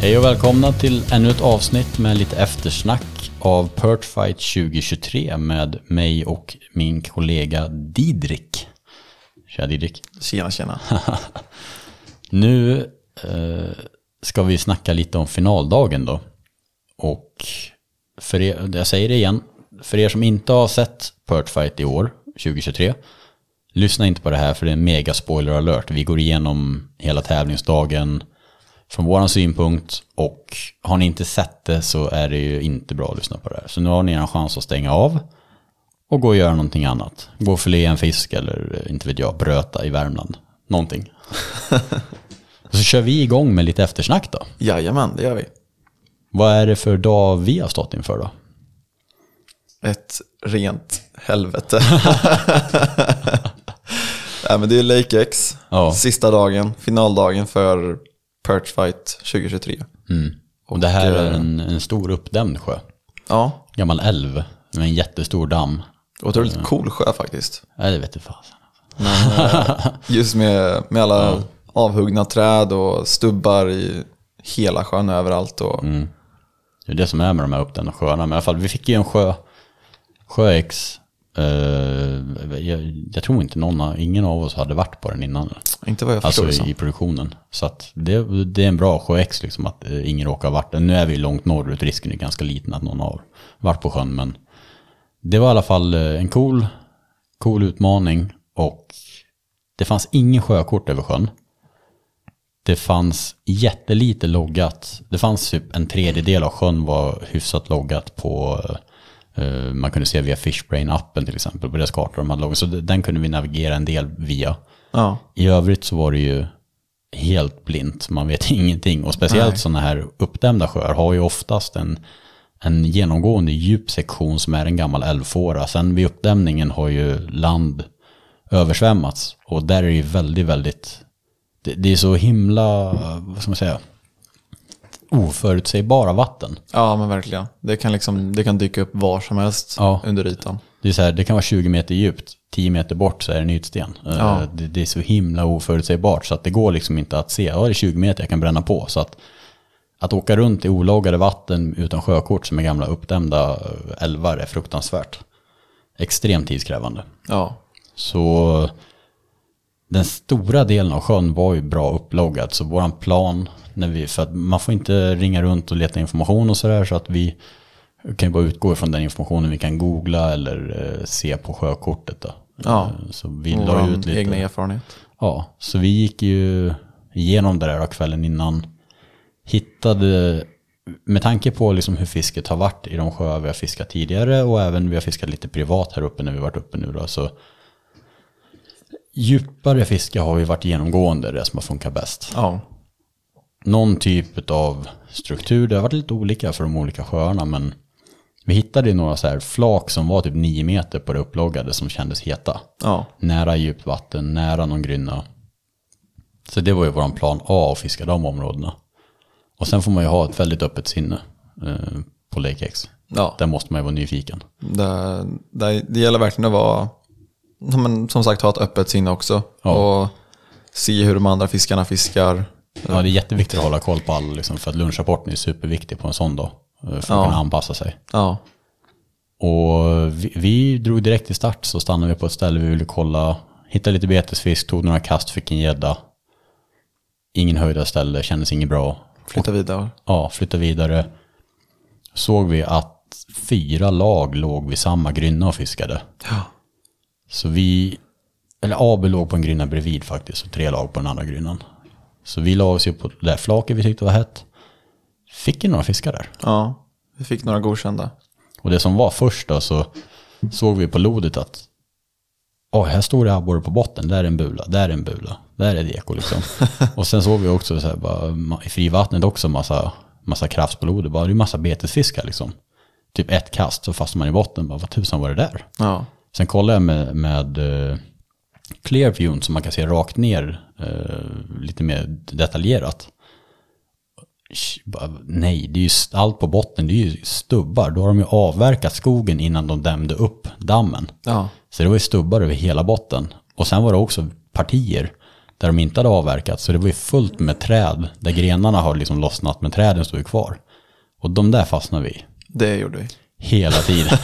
Hej och välkomna till ännu ett avsnitt med lite eftersnack av Pert Fight 2023 med mig och min kollega Didrik. Tja Didrik. Tjena, tjena. Nu eh, ska vi snacka lite om finaldagen då. Och för er, jag säger det igen, för er som inte har sett Pert Fight i år, 2023, lyssna inte på det här för det är en mega spoiler alert. Vi går igenom hela tävlingsdagen från vår synpunkt och har ni inte sett det så är det ju inte bra att lyssna på det här. Så nu har ni en chans att stänga av och gå och göra någonting annat. Gå och filea en fisk eller eh, inte vet jag, bröta i Värmland. Någonting. Och så kör vi igång med lite eftersnack då. Jajamän, det gör vi. Vad är det för dag vi har stått inför då? Ett rent helvete. Nej, men det är Lake X, Ja. sista dagen, finaldagen för Perch Fight 2023. Och det här är eh, en, en stor uppdämd sjö. Ja, Gammal älv med en jättestor damm. otroligt cool sjö faktiskt. Nej, det vet du fasen. Just med, med alla avhuggna träd och stubbar i hela sjön överallt. Och, Mm. Det är det som är med de här uppdämda sjöarna. Men i alla fall, vi fick ju en sjö, sjöäx. Eh, jag, jag tror inte någon, har- ingen av oss hade varit på den innan. Inte vad jag förstår Alltså det som. i produktionen. Så att det, det är en bra sjöex liksom att eh, ingen råkar ha varit där. Nu är vi ju långt norrut, risken är ganska liten att någon har varit på sjön. Men det var i alla fall eh, en cool, cool utmaning och det fanns ingen sjökort över sjön. Det fanns jättelite loggat. Det fanns typ en tredjedel av sjön var hyfsat loggat på eh, man kunde se via Fishbrain-appen till exempel på deras kartor de hade loggat. Så det- den kunde vi navigera en del via. Ja, I övrigt så var det ju helt blint, man vet ingenting. Och speciellt sådana här uppdämda sjöar har ju oftast en, en genomgående djup sektion som är en gammal älvfåra. Sen vid uppdämningen har ju land översvämmats och där är det ju väldigt, väldigt, det, det är så himla, vad ska man säga, oförutsägbara vatten. ja men verkligen. Det kan, liksom, det kan dyka upp var som helst Ja. under ytan. Det, är så här, det kan vara 20 meter djupt, 10 meter bort så är det en ytsten. Eh, Ja. Det, det är så himla oförutsägbart så att det går liksom inte att se, ja det är 20 meter jag kan bränna på. Så att, att åka runt i olagade vatten utan sjökort som är gamla uppdämda eh, älvar är fruktansvärt. Extremt tidskrävande. Ja, Så den stora delen av sjön var ju bra upploggad. Så våran plan, när vi, för att man får inte ringa runt och leta information och sådär. Så att vi kan ju bara utgå ifrån den informationen vi kan googla eller eh, se på sjökortet. Då. Ja. Eh, Så vi la ut vår lite. egna erfarenhet. Ja, så vi gick ju igenom det där då kvällen innan. Hittade, med tanke på liksom hur fisket har varit i de sjöar vi har fiskat tidigare och även vi har fiskat lite privat här uppe när vi varit uppe nu då, så djupare fiske har ju varit genomgående det som har funkat bäst. Ja, Någon typ av struktur, det har varit lite olika för de olika sjöarna men vi hittade ju några så här flak som var typ 9 meter på det upploggade som kändes heta ja. nära djupt vatten, nära någon grynna. Så det var ju vår plan A att fiska de områdena. Och sen får man ju ha ett väldigt öppet sinne eh, på Lake X. ja. Där måste man ju vara nyfiken. Det, det, det gäller verkligen att vara, ja, men som sagt ha ett öppet sinne också. Och se hur de andra fiskarna fiskar. Ja, det är jätteviktigt att hålla koll på alla, liksom, för att lunchrapporten är superviktig på en sån dag. eh, För att Ja. kunna anpassa sig. Ja, Och vi, vi drog direkt till start så stannade vi på ett ställe vi ville kolla, hittade lite betesfisk, tog några kast, fick en gädda. Ingen höjda ställe, kändes inget bra. flytta vidare. ja, flytta vidare. Såg vi att fyra lag låg vid samma grynna och fiskade. Ja. Så vi, eller AB låg på en grynna bredvid faktiskt och tre lag på den andra grynnan. Så vi la oss ju på det där flaket vi tyckte var hett. Fick ju några fiskar där. ja, vi fick några godkända. Och det som var först då så såg vi på lodet att Ja, här står det abborre på botten, där är en bula, där är en bula, där är det eko liksom. Och sen såg vi också så här, bara, ma- i frivattnet också massa, massa krafts på lodet, bara det är massa betesfiskar liksom. Typ ett kast så fastnar man i botten, bara vad tusan var det där? Ja, Sen kollade jag med, med eh, Clearview som man kan se rakt ner eh, lite mer detaljerat. Sh- bara, Nej, det är ju st- allt på botten, det är ju stubbar. Då har de ju avverkat skogen innan de dämde upp dammen. ja, Så det var ju stubbar över hela botten. Och sen var det också partier där de inte hade avverkat. Så det var ju fullt med träd där grenarna har liksom lossnat men träden stod ju kvar. Och de där fastnade vi i Det gjorde vi. hela tiden.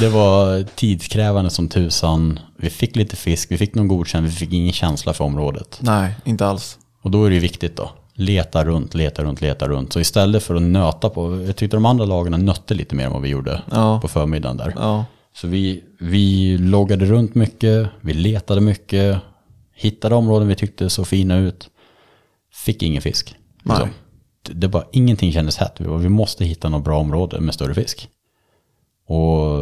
det var tidskrävande som tusan. Vi fick lite fisk, vi fick någon godkänd, vi fick ingen känsla för området. Nej, inte alls. Och då är det ju viktigt då. Leta runt, leta runt, leta runt. Så istället för att nöta på, jag tyckte de andra lagen nötte lite mer än vad vi gjorde Ja. på förmiddagen där. Ja. Så vi, vi loggade runt mycket, vi letade mycket, hittade områden vi tyckte såg fina ut. Fick ingen fisk. Liksom. Nej. Det, det bara, ingenting kändes hett. Vi, bara, vi måste hitta något bra område med större fisk. Och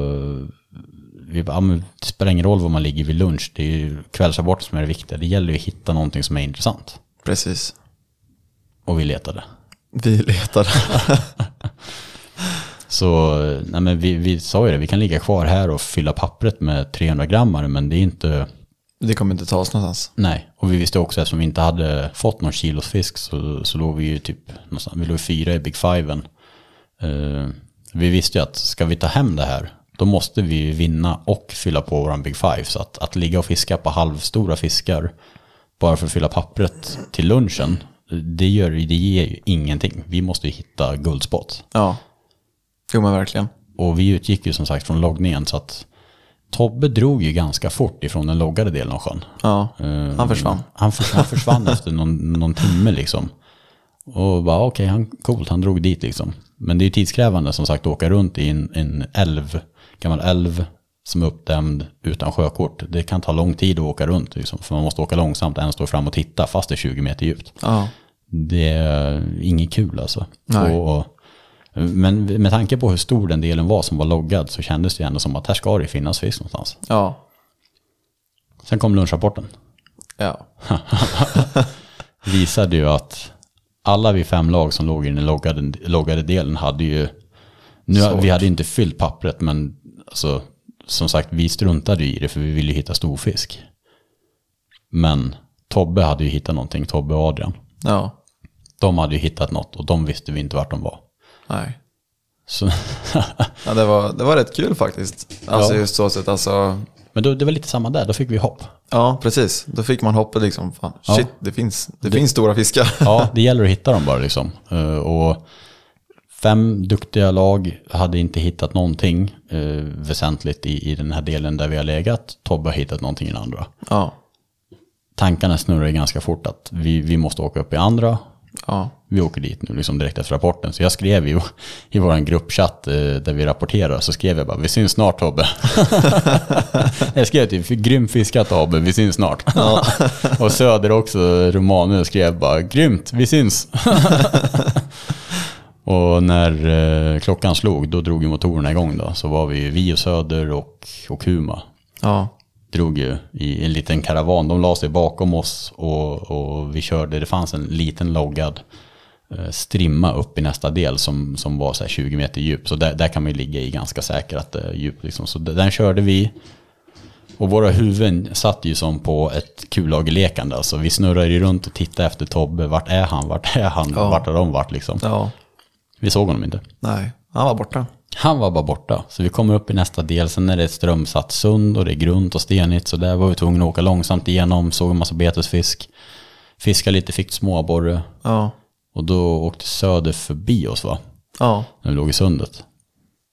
vi bara, ja, men det spelar ingen roll var man ligger vid lunch, det är ju kvällsabort som är det viktiga. Det gäller ju att hitta någonting som är intressant. Precis. Och vi letade. Vi letade. Så nej men vi, vi sa ju det, vi kan ligga kvar här och fylla pappret med 300 grammar men det är inte, Det kommer inte ta oss någonstans. nej. Och vi visste också eftersom vi inte hade fått någon kilos fisk så, så låg vi ju typ någonstans, vi låg fyra i big fiven. Eh, vi visste ju att ska vi ta hem det här då måste vi ju vinna och fylla på våran big five. Så att, att ligga och fiska på halvstora fiskar bara för att fylla pappret till lunchen, det, gör, det ger ju ingenting. Vi måste ju hitta guldspott. Ja. Jo men verkligen. Och vi utgick ju som sagt från loggningen så att Tobbe drog ju ganska fort ifrån den loggade delen av sjön. Ja. Eh, Han försvann. Han, för- han försvann efter någon, någon timme liksom. Och bara okej, han, coolt, han drog dit liksom. Men det är ju tidskrävande som sagt att åka runt i en, en älv, gammal älv som är uppdämd utan sjökort. Det kan ta lång tid att åka runt liksom, för man måste åka långsamt, en står fram och titta fast det är 20 meter djupt Ja. det är inget kul alltså. Nej. Och, men med tanke på hur stor den delen var som var loggad så kändes det ju ändå som att här ska det finnas fisk någonstans. Ja. Sen kom lunchrapporten. Ja. Visade ju att alla vi fem lag som låg i den loggade, loggade delen hade ju... Nu, Svårt. vi hade inte fyllt pappret men alltså, som sagt vi struntade ju i det för vi ville ju hitta storfisk. Men Tobbe hade ju hittat någonting, Tobbe och Adrian. Ja. De hade ju hittat något och de visste vi inte vart de var. Nej. Så Ja, det, var, det var rätt kul faktiskt. Alltså Ja. just så sett, alltså. Men då, det var lite samma där, då fick vi hopp. Ja, precis. Då fick man hoppet liksom. Fan, Ja. Shit, det finns, det finns stora fiskar. Ja, det gäller att hitta dem bara liksom. Eh, Och fem duktiga lag hade inte hittat någonting eh, väsentligt i, i den här delen där vi har legat. Tobbe har hittat någonting i den andra. Ja. Tankarna snurrar ju ganska fort att vi, vi måste åka upp i andra. Ja. Vi åker dit nu liksom direkt efter rapporten. Så jag skrev ju i vår gruppchatt eh, där vi rapporterar så skrev jag bara vi syns snart Tobbe. jag skrev typ grym fiskat Tobbe, vi syns snart. och Söder också, Romanus skrev bara grymt, vi syns. och när eh, klockan slog då drog ju motorerna igång då. Så var vi ju vi och Söder och, och Kuma Ja. drog ju i en liten karavan. De la sig bakom oss och, och vi körde. Det fanns en liten loggad eh, strimma upp i nästa del som, som var så här 20 meter djup. Så där, där kan man ju ligga i ganska säkert eh, djup. Liksom. Så d- den körde vi. Och våra huvuden satt ju som på ett kullagerlekande. Alltså, vi snurrade ju runt och tittade efter Tobbe. Vart är han? Vart är han? Ja. Vart har de varit liksom? Ja. Vi såg honom inte. Nej, han var borta. Han var bara borta. Så vi kommer upp i nästa del, sen är det ett strömsatt sund och det är grunt och stenigt. Så där var vi tvungna att åka långsamt igenom, såg en massa betesfisk. Fiskade lite, fick småabborre. Ja. Och då åkte Söder förbi oss va, Ja. när vi låg i sundet.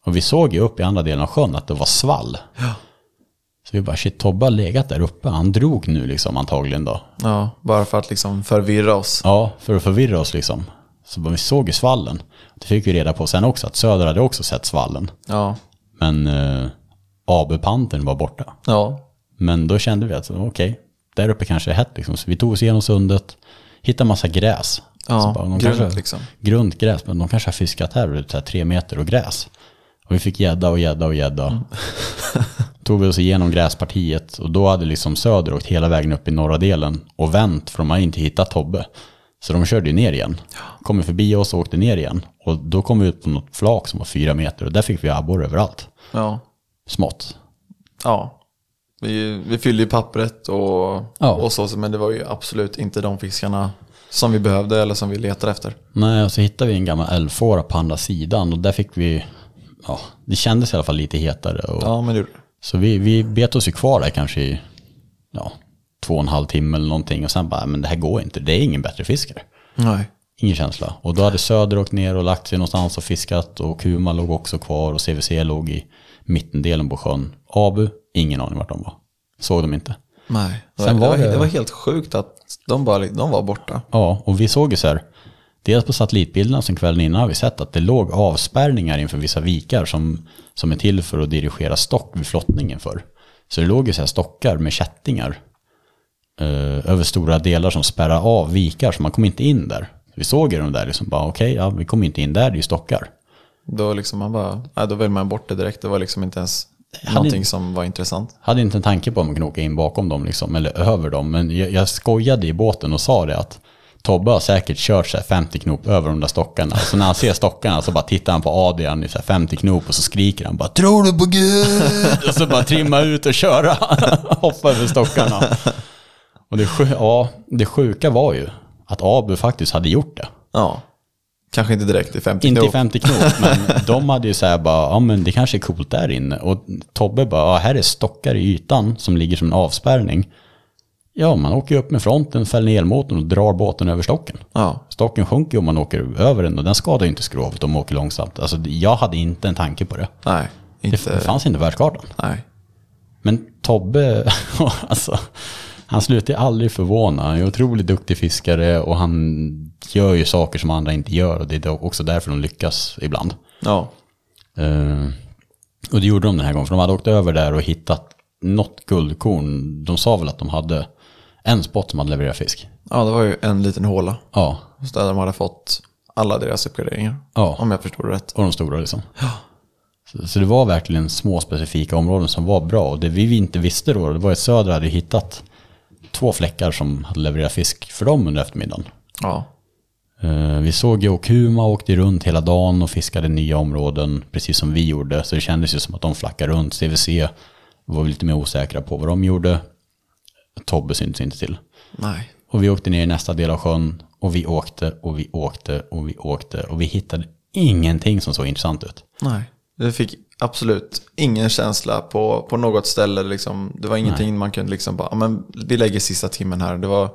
Och vi såg ju upp i andra delen av sjön att det var svall. Så vi bara, shit Tobbe har legat där uppe, han drog nu liksom antagligen då. Ja, bara för att liksom förvirra oss. Ja, för att förvirra oss liksom. Så bara, vi såg ju svallen. Det fick vi reda på sen också, att Söder hade också sett svallen. Ja. Men eh, AB-panten var borta. Ja. Men då kände vi att okej, där uppe kanske är hett liksom. Så vi tog oss igenom sundet, hittade massa gräs. Ja, Så de grunt kanske, liksom. Grunt gräs, men de kanske har fiskat här ute, så här tre meter och gräs. Och vi fick gädda och gädda och gädda. tog vi oss igenom gräspartiet och då hade liksom Söder åkt hela vägen upp i norra delen och vänt för de hade inte hittat Tobbe. Så de körde ju ner igen. Kommer förbi oss och åkte ner igen. Och då kom vi ut på något flak som var fyra meter och där fick vi abborre överallt. Ja. Smått. Ja. Vi, vi fyllde ju pappret och, Ja. och så, men det var ju absolut inte de fiskarna som vi behövde eller som vi letade efter. Nej, och så hittade vi en gammal älvfåra på andra sidan och där fick vi, ja, det kändes i alla fall lite hetare. Och, Ja, men det gjorde det. Så vi, vi bet oss ju kvar där kanske i, ja, två och en halv timme eller någonting och sen bara, men det här går inte, det är ingen bättre fiskare. Nej. Ingen känsla. Och då hade Söder åkt ner och lagt sig någonstans och fiskat och Kuma låg också kvar och CVC låg i mittendelen på sjön. Abu, ingen aning vart de var. Såg de inte. Nej. Sen det, var var, det- det var helt sjukt att de, bara, de var borta. Ja, och vi såg ju så här, dels på satellitbilderna som kvällen innan har vi sett att det låg avspärrningar inför vissa vikar som, som är till för att dirigera stock vid flottningen för. Så det låg ju så här stockar med kättingar eh, över stora delar som spärrar av vikar så man kom inte in där. Vi såg ju de där liksom bara okej, ja, vi kommer inte in där, det är ju stockar. Då, liksom man bara, nej, då väljer man bort det direkt. Det var liksom inte ens Hade- någonting som var intressant. Hade inte en tanke på om man kunde åka in bakom dem liksom, eller över dem. Men jag, jag skojade i båten och sa det att Tobbe har säkert kört så här 50 knop över de där stockarna. Så när han ser stockarna så bara tittar han på Adrian i så här 50 knop och så skriker han bara “Tror du på Gud?” och så bara trimma ut och köra, hoppa över stockarna. Och det, sju- ja, det sjuka var ju att Abu faktiskt hade gjort det. Ja. Kanske inte direkt i 50 Inte i knop. 50 knop, men de hade ju så här bara, ja men det kanske är coolt där inne. Och Tobbe bara, ja här är stockar i ytan som ligger som en avspärrning. Ja, man åker ju upp med fronten, fäller ner elmotorn och drar båten över stocken. Ja. Stocken sjunker ju om man åker över den och den skadar ju inte skrovet om man åker långsamt. Alltså jag hade inte en tanke på det. Nej. Det Inte. fanns inte på världskartan. Nej. Men Tobbe, alltså, han slutar ju aldrig förvåna. Han är en otroligt duktig fiskare och han gör ju saker som andra inte gör och det är också därför de lyckas ibland. Ja. Eh, och det gjorde de den här gången, för de hade åkt över där och hittat något guldkorn. De sa väl att de hade en spot som hade levererat fisk. Ja, det var ju en liten håla. Ja, Så där de hade fått alla deras uppgraderingar. Ja. Om jag förstod det rätt. och de stora liksom. Så, så det var verkligen små specifika områden som var bra. Och det vi inte visste då, det var att Söder hade hittat två fläckar som hade levererat fisk för dem under eftermiddagen. Ja. Eh, Vi såg ju Okuma åkte runt hela dagen och fiskade nya områden, precis som vi gjorde. Så det kändes ju som att de flackade runt. CVC var vi lite mer osäkra på vad de gjorde. Tobbe syntes inte till. Nej. Och vi åkte ner i nästa del av sjön och vi åkte och vi åkte och vi åkte och vi hittade ingenting som såg intressant ut. Nej. Du fick absolut ingen känsla på, på något ställe. Liksom. Det var ingenting man kunde liksom bara, "Ja, men vi lägger sista timmen här. Det var,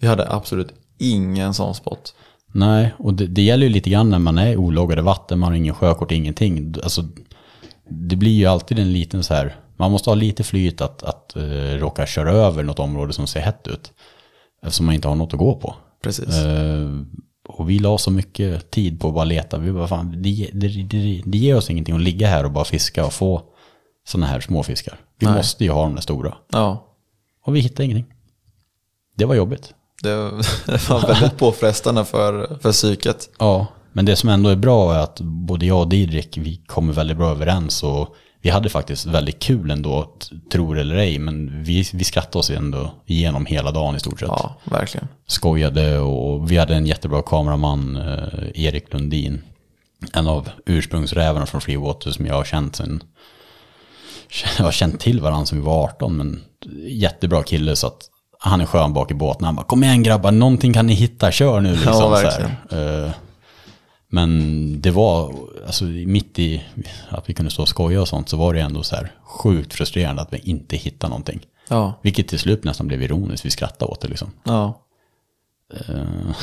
vi hade absolut ingen sån spot. Nej, och det, det gäller ju lite grann när man är i ologgade vatten, man har ingen sjökort, ingenting. D- Alltså, det blir ju alltid en liten så här, man måste ha lite flyt att, att eh, råka köra över något område som ser hett ut. Eftersom man inte har något att gå på. Precis. Eh, och vi la så mycket tid på att bara leta. Vi bara, fan, det, ge- det, det, det ger oss ingenting att ligga här och bara fiska och få sådana här småfiskar. Vi Nej. måste ju ha de där stora. Ja. Och vi hittade ingenting. Det var jobbigt. Det, det var väldigt påfrestande för, för psyket. Ja, men det som ändå är bra är att både jag och Didrik, vi kommer väldigt bra överens och vi hade faktiskt väldigt kul ändå, t- tror eller ej, men vi, vi skrattade oss ändå igenom hela dagen i stort sett. Ja, verkligen. Skojade och vi hade en jättebra kameraman, eh, Erik Lundin, en av ursprungsrävarna från Freewater som jag har känt sen jag har känt till varandra som vi var 18, men jättebra kille så att han är skön bak i båten. Han bara, kom igen grabbar, någonting kan ni hitta, kör nu liksom. Ja, så verkligen. här. Eh, Men det var, alltså mitt i att vi kunde stå och skoja och sånt, så var det ändå så här sjukt frustrerande att vi inte hittade någonting. Ja. Vilket till slut nästan blev ironiskt, vi skrattade åt det liksom. Ja. Eh,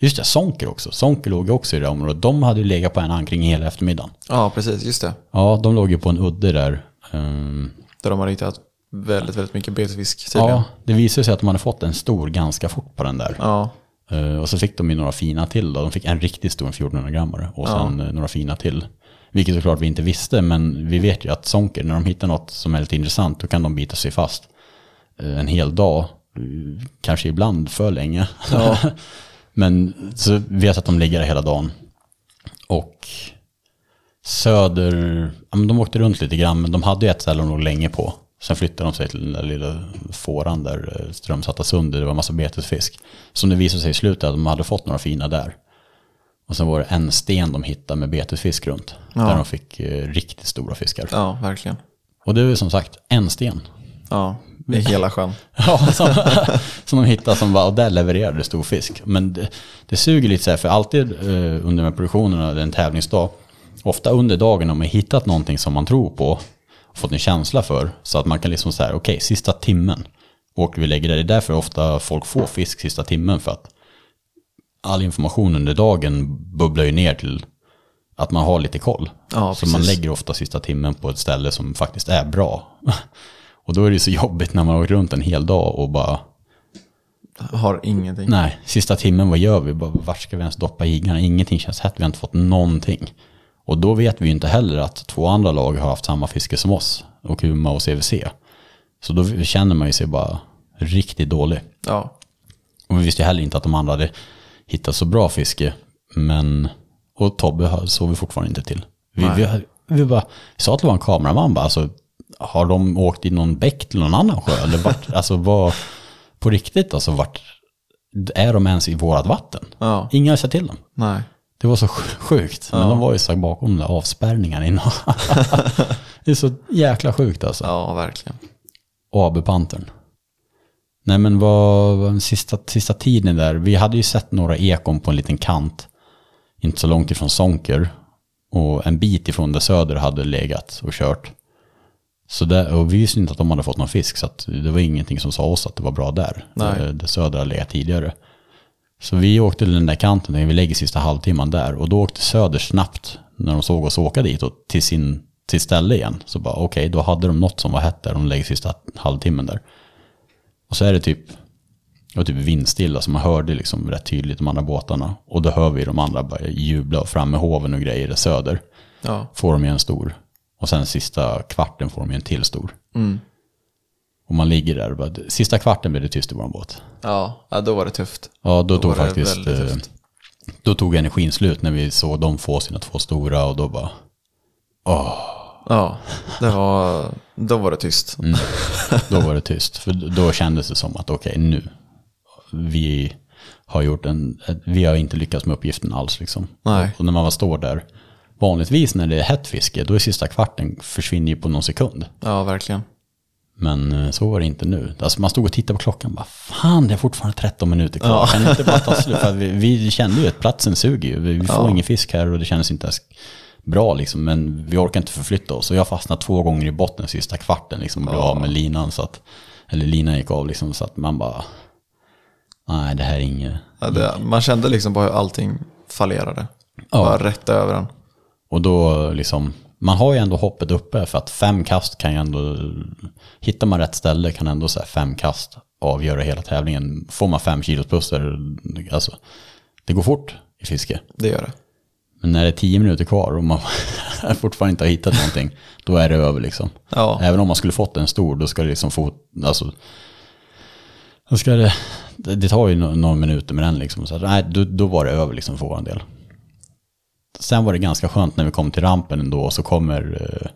Just det, Sonker också. Sonker låg ju också i det här området. De hade ju legat på en ankring hela eftermiddagen. ja, precis. Just det. Ja, de låg ju på en udde där. Ehm, Där de har hittat väldigt, väldigt mycket betesfisk tydligen. Ja, det visade sig att de hade fått en stor ganska fort på den där. Ja. Eh, och så fick de ju några fina till då. De fick en riktigt stor, en 1400-grammare och sen eh, några fina till. Vilket såklart vi inte visste, men vi vet ju att Sonker, när de hittar något som är lite intressant, då kan de bita sig fast eh, en hel dag. eh, Kanske ibland för länge. men så vet att de ligger där hela dagen. Och Söder, ja, men de åkte runt lite grann, men de hade ju ett ställe de låg länge på. Sen flyttade de sig till den där lilla fåran där eh, Strömsatta sund, där det var massa betesfisk. Som det visade sig i slutet att de hade fått några fina där. Och sen var det en sten de hittade med betesfisk runt. Där de fick eh, riktigt stora fiskar. Ja, verkligen. Och det är ju som sagt en sten. Ja, i hela sjön. Ja, som, som de hittade som bara, och där levererade stor fisk. Men det, det suger lite så här, för alltid eh, under de här produktionerna, eller en tävlingsdag, ofta under dagen om man hittat någonting som man tror på, och fått en känsla för, så att man kan liksom så här, okej, sista timmen, åker vi lägger där. Det är därför ofta folk får fisk sista timmen för att all information under dagen bubblar ju ner till att man har lite koll. Ja, så man precis. lägger ofta sista timmen på ett ställe som faktiskt är bra. Och då är det ju så jobbigt när man har åkt runt en hel dag och bara, Har ingenting. nej, sista timmen, vad gör vi? Bara, vart ska vi ens doppa igarna? Ingenting känns hett, vi har inte fått någonting. Och då vet vi ju inte heller att två andra lag har haft samma fiske som oss, och Uma och CVC. Så då känner man ju sig bara riktigt dålig. Ja. Och vi visste ju heller inte att de andra hade hittat så bra fiske. Men, och Tobbe har- såg vi fortfarande inte till. Vi, vi, vi bara, vi sa att det var en kameraman bara, alltså, har de åkt i någon bäck till någon annan sjö? Eller vart, alltså vad, på riktigt alltså, vart, är de ens i vårat vatten? Ja. Ingen har sett till dem. Nej. Det var så sj- sjukt, men de var ju så bakom de där avspärrningarna innan. det är så jäkla sjukt alltså. Ja, verkligen. ab Pantern. Nej men vad, vad- sista, sista tiden där, vi hade ju sett några ekon på en liten kant, inte så långt ifrån Sonker, och en bit ifrån där Söder hade legat och kört. Så där, och vi visste inte att de hade fått någon fisk, så att det var ingenting som sa oss att det var bra där, Nej. där, där Söder hade legat tidigare. Så vi åkte till den där kanten, och vi lägger sista halvtimman där, och då åkte Söder snabbt när de såg oss åka dit och till sin till ställe igen. Så bara okej, då hade de något som var hett där, de lägger sista halvtimmen där. Och så är det typ, det var typ vindstilla, så man hörde liksom rätt tydligt de andra båtarna. Och då hör vi de andra bara jubla och fram med hoven och grejer där söder. Ja. Får de ju en stor. Och sen sista kvarten får de ju en till stor. Mm. Och man ligger där och bara, sista kvarten blev det tyst i vår båt. Ja, ja, då var det tufft. Ja, då, tog var det faktiskt, väldigt eh, tufft. då tog energin slut när vi såg dem få sina två stora och då bara, Ja, det var, då var det tyst. Mm. då var det tyst. För då kändes det som att okej, nu, vi har, gjort en, vi har inte lyckats med uppgiften alls. Liksom. Nej. Och när man var står där, vanligtvis när det är hett fiske, då är sista kvarten försvinner ju på någon sekund. Ja, verkligen. Men eh, så var det inte nu. Alltså man stod och tittade på klockan bara, fan det är fortfarande 13 minuter kvar. Kan det inte bara ta slut? För att vi, vi kände ju att platsen suger ju. Vi, vi får ingen fisk här och det kändes inte ens bra liksom. Men vi orkar inte förflytta oss. Och jag fastnade två gånger i botten sista kvarten liksom och blev av med linan. Så att, eller linan gick av liksom så att man bara, nej det här är inget. Ja, det, man kände liksom bara hur allting fallerade. Bara rätt över den. Och då liksom, man har ju ändå hoppet uppe för att fem kast kan ju ändå, hittar man rätt ställe kan ändå så här fem kast avgöra hela tävlingen. Får man fem kilos puster, alltså det går fort i fiske. Det gör det. Men när det är tio minuter kvar och man fortfarande inte har hittat någonting, då är det över liksom. Ja. Även om man skulle fått en stor, då ska det liksom få, alltså, då ska det, det, det tar ju no- några minuter med den liksom. Så att, nej, då, då var det över liksom för vår del. Sen var det ganska skönt när vi kom till rampen ändå och så kommer eh,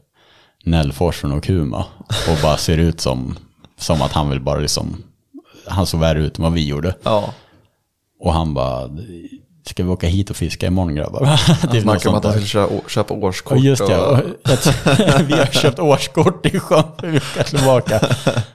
Nellfors från Okuma och bara ser ut som, som att han vill bara liksom, han såg värre ut än vad vi gjorde. Ja, Och han bara, ska vi åka hit och fiska imorgon grabbar? han Typ något snackade om sånt att han där. skulle köra, köpa årskort. Ja, just det. och- Och, vi har köpt årskort i sjön för vi ska tillbaka.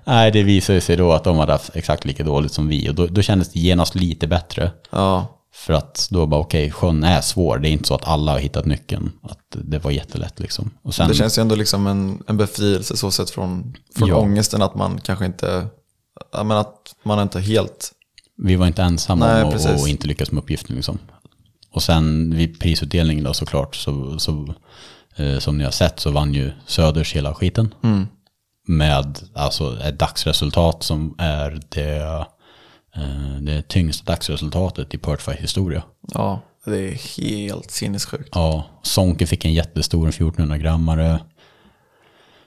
Nej, det visade sig då att de hade haft exakt lika dåligt som vi. Och då, då kändes det genast lite bättre. ja, För att då bara, okej, sjön är svår. Det är inte så att alla har hittat nyckeln. Att det var jättelätt liksom. Och sen, det känns ju ändå liksom en, en befrielse så sett från, från Ja. ångesten att man kanske inte, ja, men att man inte helt, vi var inte ensamma Nej, om att precis. och inte lyckas med uppgiften liksom. Och sen vid prisutdelningen då såklart, så, så, eh, som ni har sett så vann ju Söders hela skiten. Mm. Med alltså ett dagsresultat som är det, eh, det tyngsta dagsresultatet i Pertfight historia. ja, det är helt sinnessjukt. Ja, Sonke fick en jättestor, en 1400-grammare.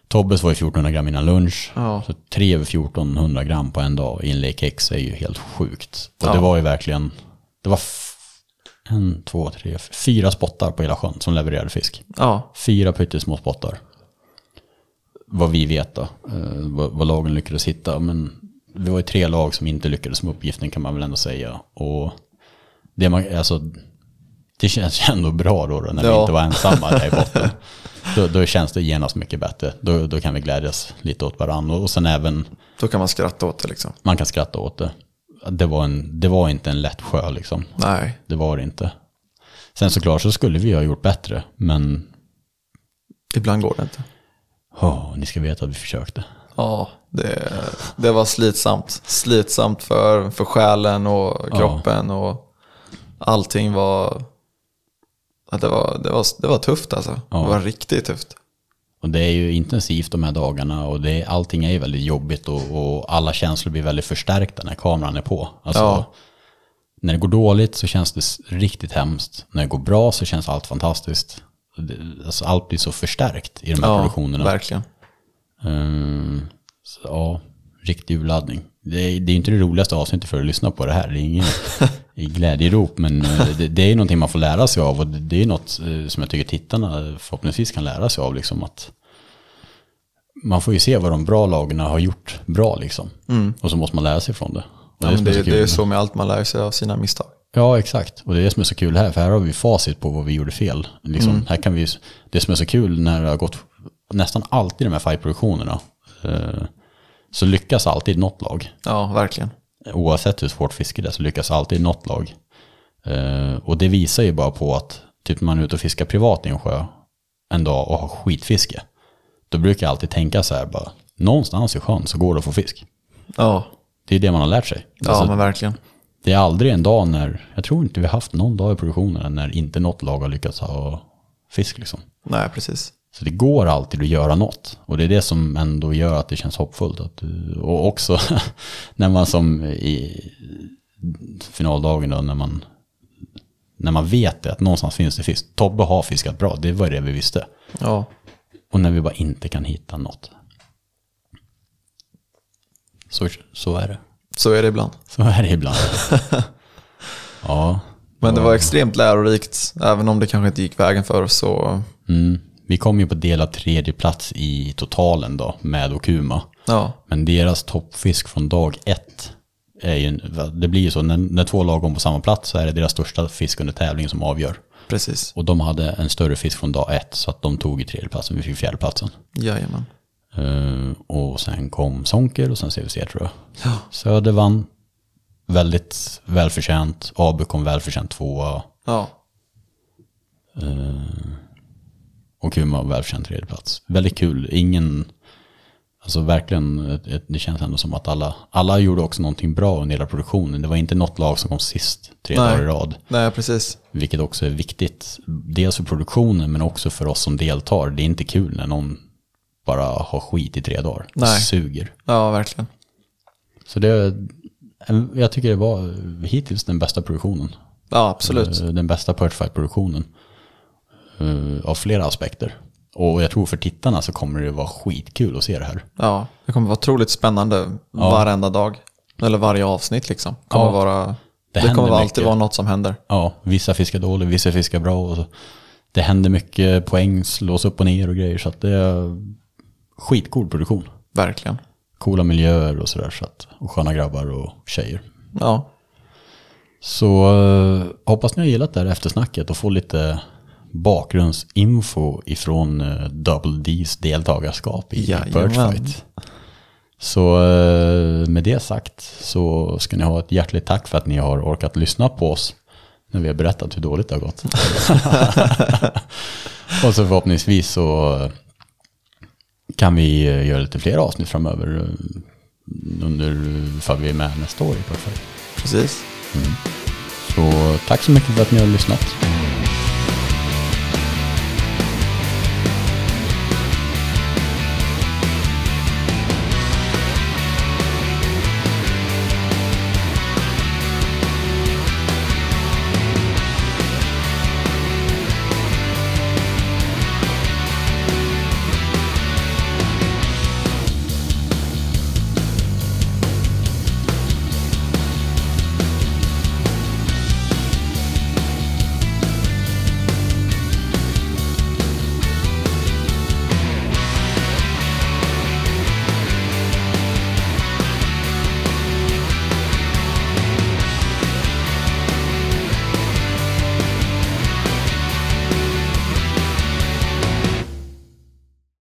Tobbes var ju 1400 gram innan lunch. Ja. Så 3 över 1400 gram på en dag i en Lake X är ju helt sjukt. Och det Ja. var ju verkligen, det var f- en, två, tre, f- fyra spottar på hela sjön som levererade fisk. Ja, Fyra pyttesmå spottar. Vad vi vet då, eh, vad, vad lagen lyckades hitta. Men vi var ju tre lag som inte lyckades med uppgiften kan man väl ändå säga. Och det, man, alltså, det känns ju ändå bra då, då när vi Ja. inte var ensamma där i botten. då, då känns det genast mycket bättre. Då, då kan vi glädjas lite åt varandra. Och sen även, då kan man skratta åt det liksom. man kan skratta åt det. Det var, en, det var inte en lätt sjö liksom. Nej, Det var det inte. Sen såklart så skulle vi ha gjort bättre, men ibland går det inte. Ja, ni ska veta att vi försökte. Ja, det, det var slitsamt. Slitsamt för, för själen och kroppen och allting var... ja, Det var, det var, det var tufft alltså. Det var riktigt tufft. Och det är ju intensivt de här dagarna och det, allting är ju väldigt jobbigt och, och alla känslor blir väldigt förstärkta när kameran är på. Alltså, Ja. När det går dåligt så känns det s- riktigt hemskt. När det går bra så känns allt fantastiskt. Det- Alltså, allt blir så förstärkt i de här Ja, produktionerna. verkligen. Ehm, så, ja, riktig urladdning. Det är, det är inte det roligaste avsnittet för att lyssna på det här. Det är ingen glädjerop, men eh, det, det är ju någonting man får lära sig av och det, det är något eh, som jag tycker tittarna förhoppningsvis kan lära sig av. Liksom, att man får ju se vad de bra lagen har gjort bra liksom. Och så måste man lära sig från det. Och Mm. Ja, är men som är det, så kul det är med- så med allt man lär sig av sina misstag. Ja, exakt. Och det är det som är så kul här, för här har vi facit på vad vi gjorde fel. Liksom, Mm. här kan vi, det som är så kul när det har gått nästan alltid i de här fightproduktionerna eh, så lyckas alltid något lag. Ja, verkligen. Oavsett hur svårt fiske det är så lyckas alltid något lag. Eh, och det visar ju bara på att typ när man är ute och fiskar privat i en sjö en dag och har skitfiske, då brukar jag alltid tänka så här bara, någonstans i sjön så går det att få fisk. Ja, alltså- Det är det man har lärt sig. Alltså, ja men verkligen. Det är aldrig en dag när, jag tror inte vi har haft någon dag i produktionen när inte något lag har lyckats ha fisk liksom. Nej, precis. Så det går alltid att göra något. Och det är det som ändå gör att det känns hoppfullt. Att du, och också när man som i finaldagen då, när man, när man vet det, att någonstans finns det fisk. Tobbe har fiskat bra, det var det vi visste. Ja, Och när vi bara inte kan hitta något. Så, så är det. så är det ibland. Så är det ibland. Ja. Men det var extremt lärorikt, även om det kanske inte gick vägen för oss. Så, Mm. Vi kom ju på delad tredje plats i totalen då med Okuma. ja, Men deras toppfisk från dag ett är ju, en- det blir ju så, när, när två lag går på samma plats så är det deras största fisk under tävlingen som avgör. precis. Och de hade en större fisk från dag ett så att de tog i tredje platsen, vi fick fjärde platsen. Jajamän. Eh, och sen kom Sonker och sen CVC tror jag. Söder vann väldigt välförtjänt, Abu kom välförtjänt tvåa. Ja, Eh, Och Kuma har välförtjänt tredjeplats. Väldigt kul. Ingen, alltså verkligen, ett- ett- det känns ändå som att alla, alla gjorde också någonting bra under hela produktionen. Det var inte något lag som kom sist tre Nej. dagar i rad. nej precis. Vilket också är viktigt, dels för produktionen men också för oss som deltar. Det är inte kul när någon bara har skit i tre dagar. Nej. Det suger. Ja, verkligen. Så det, en- jag tycker det var hittills den bästa produktionen. Ja, absolut. Eh, Den bästa Perchfight-produktionen. eh, Av flera aspekter. Och jag tror för tittarna så kommer det vara skitkul att se det här. Ja, det kommer vara otroligt spännande varenda dag. Eller varje avsnitt liksom. Kommer Ja. vara, det händer kommer vara mycket. alltid vara något som händer. Ja, vissa fiskar dåligt, vissa fiskar bra. Och så. Det händer mycket poäng, slås upp och ner och grejer. Så att det är skitcool produktion. Verkligen. Coola miljöer och sådär. Så att- och sköna grabbar och tjejer. Ja, Så eh, hoppas ni har gillat det här eftersnacket och får lite bakgrundsinfo ifrån eh, Double D's deltagarskap i Jajamän. Birdfight. Så eh, med det sagt så ska ni ha ett hjärtligt tack för att ni har orkat lyssna på oss när vi har berättat hur dåligt det har gått. och så förhoppningsvis så eh, kan vi eh, göra lite fler avsnitt framöver eh, under ifall vi är med nästa år i Birdfight. precis. Så tack så mycket för att ni har lyssnat.